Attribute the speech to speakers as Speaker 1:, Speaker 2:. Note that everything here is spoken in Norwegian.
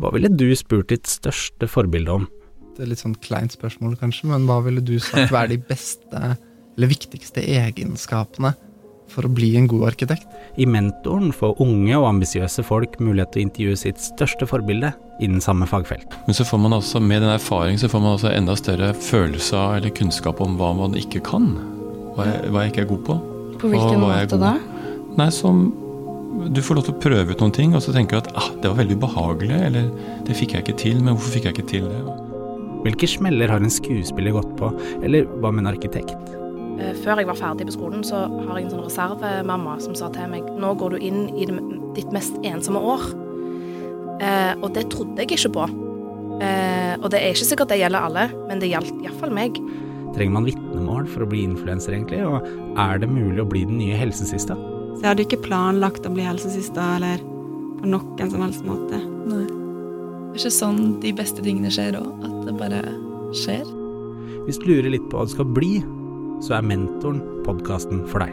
Speaker 1: Hva ville du spurt ditt største forbilde om?
Speaker 2: et litt sånn kleint spørsmål, kanskje, men hva ville du sagt være de beste eller viktigste egenskapene for å bli en god arkitekt?
Speaker 1: I Mentoren får unge og ambisiøse folk mulighet til å intervjue sitt største forbilde innen samme fagfelt.
Speaker 3: Men så får man også, med den erfaringen så får man også enda større følelse av eller kunnskap om hva man ikke kan. Hva jeg, hva jeg ikke er god på.
Speaker 4: På
Speaker 3: Og
Speaker 4: hvilken
Speaker 3: hva er
Speaker 4: måte
Speaker 3: god?
Speaker 4: da?
Speaker 3: Nei, som du får lov til å prøve ut noen ting, og så tenker du at ah, det var veldig ubehagelig, eller det fikk jeg ikke til, men hvorfor fikk jeg ikke til det?
Speaker 1: Hvilke smeller har en skuespiller gått på, eller hva med en arkitekt?
Speaker 5: Eh, Før jeg var ferdig på skolen, så har jeg en sånn reservemamma som sa til meg nå går du inn i det, ditt mest ensomme år. Eh, og det trodde jeg ikke på. Eh, og det er ikke sikkert det gjelder alle, men det gjaldt iallfall meg.
Speaker 1: Trenger man vitnemål for å bli influenser, egentlig? Og er det mulig å bli den nye helsesista?
Speaker 6: Så jeg hadde ikke planlagt å bli helsesista eller på noen som helst måte.
Speaker 4: Nei. Det er ikke sånn de beste tingene skjer òg. At det bare skjer.
Speaker 1: Hvis du lurer litt på hva du skal bli, så er Mentoren podkasten for deg.